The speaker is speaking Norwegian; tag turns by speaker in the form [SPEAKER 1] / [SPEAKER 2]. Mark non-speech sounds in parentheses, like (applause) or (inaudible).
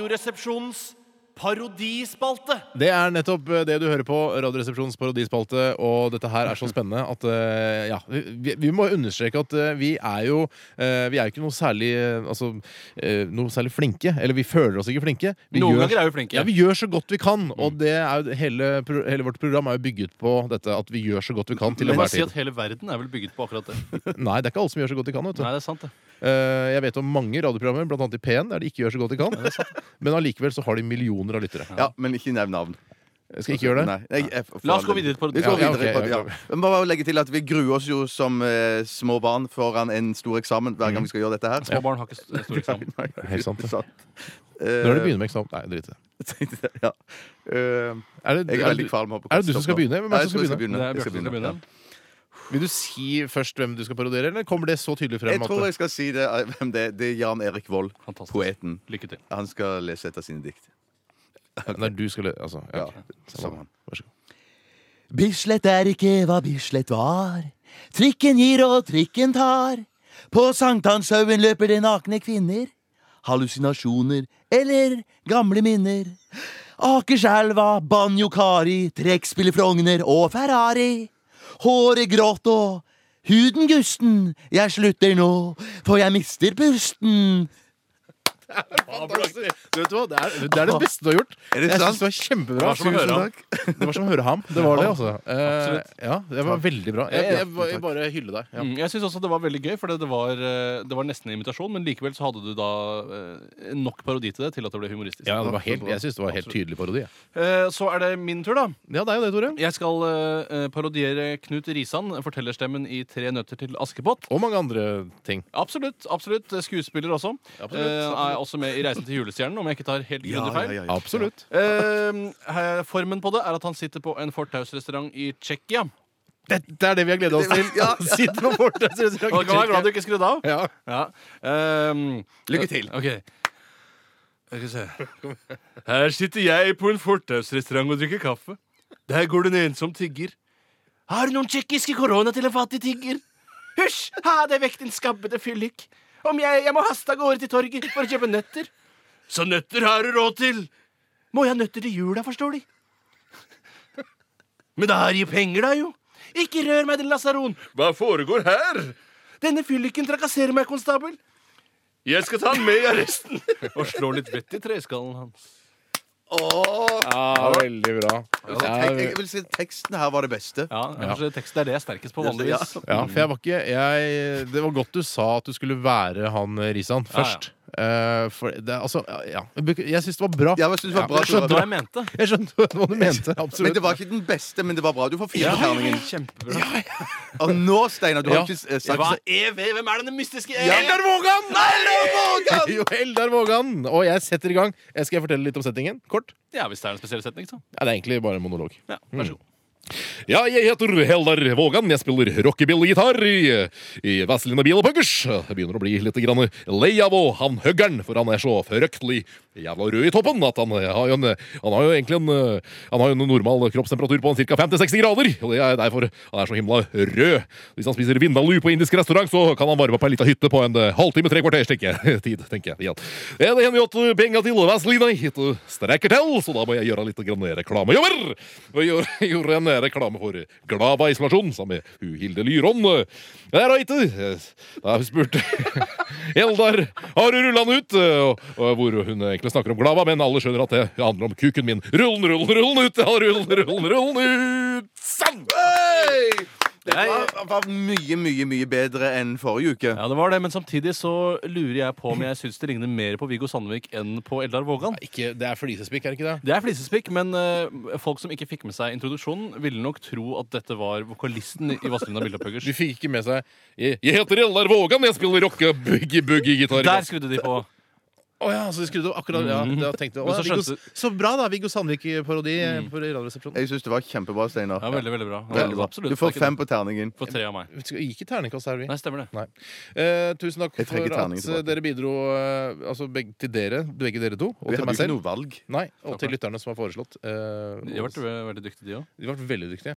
[SPEAKER 1] Radioresepsjonens parodispalte.
[SPEAKER 2] Det er nettopp eh, det du hører på, Radioresepsjonens parodispalte. Og dette her er så spennende at eh, ja, vi, vi må understreke at eh, vi er jo eh, Vi er jo ikke noe særlig eh, Altså eh, noe særlig flinke. Eller vi føler oss ikke flinke. Vi
[SPEAKER 1] Noen
[SPEAKER 2] gjør-
[SPEAKER 1] ganger er vi flinke.
[SPEAKER 2] ja, vi gjør så godt vi kan, og det er jo, hele, pro- hele vårt program er jo bygget på dette. At vi gjør så godt vi kan til
[SPEAKER 3] Men
[SPEAKER 2] enhver
[SPEAKER 3] bare si at
[SPEAKER 2] tid.
[SPEAKER 3] hele verden er vel bygget på akkurat det.
[SPEAKER 2] Nei, det er ikke alle som gjør så godt de kan. vet du
[SPEAKER 3] Nei, det er sant, det.
[SPEAKER 2] Eh, Jeg vet om mange radioprogrammer, blant annet i P1, der de ikke gjør så godt de kan. Men allikevel så har de millioner av lyttere.
[SPEAKER 4] Ja, men ikke nevn navn.
[SPEAKER 2] Jeg skal ikke gjøre det.
[SPEAKER 4] Nei, jeg- jeg- for
[SPEAKER 3] La oss
[SPEAKER 4] all
[SPEAKER 3] gå
[SPEAKER 4] del.
[SPEAKER 3] videre på-
[SPEAKER 4] Vi går
[SPEAKER 2] Ja,
[SPEAKER 4] videre
[SPEAKER 2] ok,
[SPEAKER 4] på-
[SPEAKER 2] ja,
[SPEAKER 4] ja. Men bare legge til at vi gruer oss jo som eh, små barn foran en stor eksamen hver gang vi skal gjøre dette her.
[SPEAKER 3] Små barn har ikke st- stor eksamen.
[SPEAKER 4] Nei,
[SPEAKER 2] Mhm. (laughs) Helt sant,
[SPEAKER 4] (laughs)
[SPEAKER 2] det.
[SPEAKER 4] Eh,
[SPEAKER 2] Når er det du begynner med eksamen? Nei, drit i det.
[SPEAKER 4] (laughs) ja. Eh,
[SPEAKER 2] Er det,
[SPEAKER 4] jeg er
[SPEAKER 2] er
[SPEAKER 4] veldig
[SPEAKER 2] det.
[SPEAKER 4] kvalm. håper
[SPEAKER 2] er det du som
[SPEAKER 4] jeg
[SPEAKER 2] skal
[SPEAKER 4] stopper.
[SPEAKER 2] begynne? Hvem er
[SPEAKER 4] Nei,
[SPEAKER 2] det som skal
[SPEAKER 4] jeg tror jeg
[SPEAKER 3] Det er
[SPEAKER 4] Jeg
[SPEAKER 3] Bjarte som skal begynne.
[SPEAKER 2] Vil du si først hvem du skal parodiere, eller kommer det så tydelig frem?
[SPEAKER 4] Jeg tror
[SPEAKER 2] at
[SPEAKER 4] jeg skal si det. eh, Hvem det er. Det er Jan Erik Vold,
[SPEAKER 3] Fantastisk.
[SPEAKER 4] poeten.
[SPEAKER 3] Lykke til.
[SPEAKER 4] Han skal lese et av sine dikt.
[SPEAKER 2] Nei, du skal le- altså, ja,
[SPEAKER 4] Ja,
[SPEAKER 2] ok.
[SPEAKER 4] som han.
[SPEAKER 2] Vær så god.
[SPEAKER 5] Bislett er ikke hva Bislett var. Trikken gir og trikken tar. På sankthanshaugen løper det nakne kvinner. Hallusinasjoner eller gamle minner. Akerselva, Banjo-Kari, trekkspiller Frogner og Ferrari. Håret grått og huden gusten. Jeg slutter nå, for jeg mister pusten.
[SPEAKER 2] Du vet hva, det er, det er det beste du har gjort.
[SPEAKER 4] Er det
[SPEAKER 2] jeg
[SPEAKER 4] sant?
[SPEAKER 2] synes det var kjempebra.
[SPEAKER 3] Det var som å høre
[SPEAKER 2] Tusen
[SPEAKER 3] ham.
[SPEAKER 2] takk. Det var som å høre ham. Det var det, altså. Eh,
[SPEAKER 3] Absolutt.
[SPEAKER 2] ja, det var veldig bra. Jeg, jeg, jeg,
[SPEAKER 4] takk.
[SPEAKER 2] bare hyller deg. Ja.
[SPEAKER 3] Mm, Jeg syns også det var veldig gøy, for det, det, var, eh, det var nesten en imitasjon, men likevel så hadde du da eh, nok parodi til det til at det ble humoristisk.
[SPEAKER 2] Ja, det var helt, jeg syns det var helt tydelig parodi. jeg.
[SPEAKER 3] Eh, Så er det min tur, da.
[SPEAKER 2] Ja, det er jo det, Tore.
[SPEAKER 3] Jeg skal eh, parodiere Knut Risan, fortellerstemmen i Tre nøtter til Askepott.
[SPEAKER 2] Og mange andre ting.
[SPEAKER 3] Absolutt. absolutt Skuespiller også.
[SPEAKER 2] Absolutt,
[SPEAKER 3] Eh, Er også med i Reisen til julestjernen, om jeg ikke tar helt grundig feil.
[SPEAKER 2] Absolutt.
[SPEAKER 3] Eh, her- formen på det er at han sitter på en fortausrestaurant i Tsjekkia.
[SPEAKER 2] Dette er det vi har gleda oss til. (laughs)
[SPEAKER 4] Ja.
[SPEAKER 2] Sitt på bordet, så vi skal
[SPEAKER 3] Og jeg var glad du
[SPEAKER 2] sjekke.
[SPEAKER 3] ikke skrudde av.
[SPEAKER 2] Ja.
[SPEAKER 3] Ja. Ehm,
[SPEAKER 4] Lykke til.
[SPEAKER 3] Ok. Skal vi se. Her sitter jeg på en fortausrestaurant og drikker kaffe. Der går det en ensom tigger. Har du noen tsjekkiske korona til en fattig tigger? Hysj! Ha deg vekk, din skabbete fyllik. Om jeg, jeg må haste av gårde til torget for å kjøpe nøtter. Så nøtter har du råd til. Må jeg ha nøtter til jula, forstår de. Men da har de jo penger, da, jo. Ikke rør meg, din lasaron. Hva foregår her? Denne fylliken trakasserer meg, konstabel. Jeg skal ta han med i arresten. (laughs) Og slår litt vett i treskallen hans.
[SPEAKER 2] Ja, veldig bra.
[SPEAKER 4] altså, Jeg, jeg vil si at teksten her var det beste.
[SPEAKER 3] Ja, kanskje teksten er det jeg er sterkest på vanligvis.
[SPEAKER 4] Ja.
[SPEAKER 2] Ja, for jeg var ikke jeg, Det var godt du sa at du skulle være han eh, Risan først. Eh, for det, altså, ja, jeg syns det var bra.
[SPEAKER 4] Ja, men jeg synes det var bra at
[SPEAKER 2] jeg
[SPEAKER 4] du
[SPEAKER 3] Det var
[SPEAKER 4] var-
[SPEAKER 2] skjønte,
[SPEAKER 3] det jeg mente.
[SPEAKER 2] (laughs) jeg skjønte
[SPEAKER 4] (laughs)
[SPEAKER 2] hva du mente.
[SPEAKER 4] Men
[SPEAKER 2] Absolutt.
[SPEAKER 4] det var ikke den beste, men det var bra. Du får fire på terningen.
[SPEAKER 3] Kjempebra.
[SPEAKER 4] Og nå, Steinar, du har
[SPEAKER 2] Ja.
[SPEAKER 4] ikke eh, sagt
[SPEAKER 3] Hva er vi? Hvem er denne mystiske
[SPEAKER 2] Eldar Vågan!
[SPEAKER 4] Vågan!
[SPEAKER 2] (laughs) Jo, Eldar Vågan! Og jeg setter i gang. Eh, Skal jeg fortelle litt om settingen? Kort?
[SPEAKER 3] Ja, hvis det er en spesiell setning, så.
[SPEAKER 2] Ja, det er egentlig bare en monolog. Mm.
[SPEAKER 3] Ja, vær så god.
[SPEAKER 2] Ja, jeg heter Heldar Vågan. Jeg spiller rockebilly-gitar i, i Vazelina Bil og Puggers. Jeg begynner å bli litt grann lei av å han høggeren, for han er så fryktelig jævla rød i toppen at han eh, har jo, en, han har jo egentlig en eh, Han har jo en normal kroppstemperatur på ca. 50-60 grader. Og det er derfor han er så himla rød. Hvis han spiser vindaloo på indisk restaurant, så kan han varme opp ei lita hytte på en eh, halvtime, tre kvarters tenker jeg. (laughs) tid. tenker jeg. Ja. Eh, Det hender jo at eh, penga til Vazelina ikke strekker til, så da må jeg gjøre litt grann reklamejobber. Og jeg gjorde, gjorde en reklame for Glava isolasjon sammen med hu Hilde Lyron. Det er right. Da spurte (laughs) Eldar har du rulla den ut, og, og hvor hun egentlig snakker om Glava, men alle skjønner at det handler om kuken min. Rull den, rull den, rull den ut! Ja, rull den, rull den, rull den ut! Sånn!
[SPEAKER 4] Det var, var mye, mye, mye bedre enn forrige uke.
[SPEAKER 3] Ja, det var det, men samtidig så lurer jeg på om jeg syns det ligner mer på Viggo Sandvik enn på Eldar Vågan.
[SPEAKER 2] Ikke, det er flisespikk, er det ikke det?
[SPEAKER 3] Det er flisespikk, men eh, folk som ikke fikk med seg introduksjonen, ville nok tro at dette var vokalisten i Vazelina (laughs) Bildepuggers.
[SPEAKER 2] Du fikk ikke med seg Jeg, jeg heter Eldar Vågan, jeg spiller rocke-boogie-boogie-gitar.
[SPEAKER 3] Der skrudde de på.
[SPEAKER 2] Å ja, så de skrudde opp akkurat ja, da tenkte, jeg,
[SPEAKER 3] Men
[SPEAKER 2] å,
[SPEAKER 3] så
[SPEAKER 2] Viggo,
[SPEAKER 3] skjønte-
[SPEAKER 2] så bra, da. Viggo Sandvik-parodi på Radioresepsjonen.
[SPEAKER 4] Jeg syns det var kjempebra, Steinar.
[SPEAKER 3] Ja, veldig, veldig bra.
[SPEAKER 4] Veldig bra.
[SPEAKER 3] Absolutt.
[SPEAKER 4] Du får fem på terningen.
[SPEAKER 3] For tre av meg.
[SPEAKER 2] Skal- Gikk i terningkast her, vi.
[SPEAKER 3] Nei, stemmer det.
[SPEAKER 2] Nei. Eh, tusen takk
[SPEAKER 4] Jeg
[SPEAKER 2] for
[SPEAKER 4] trekker
[SPEAKER 2] at
[SPEAKER 4] terningen
[SPEAKER 2] eh,
[SPEAKER 4] tilbake.
[SPEAKER 2] dere bidro eh, altså begge, til dere, begge dere to, og
[SPEAKER 4] Vi
[SPEAKER 2] til
[SPEAKER 4] hadde
[SPEAKER 2] meg
[SPEAKER 4] jo ikke
[SPEAKER 2] selv.
[SPEAKER 4] noe valg.
[SPEAKER 2] Nei, og
[SPEAKER 3] Takk
[SPEAKER 2] til
[SPEAKER 3] for
[SPEAKER 2] lytterne som har foreslått. Eh,
[SPEAKER 3] De har vært veldig dyktige, de òg.
[SPEAKER 2] de har vært veldig dyktige.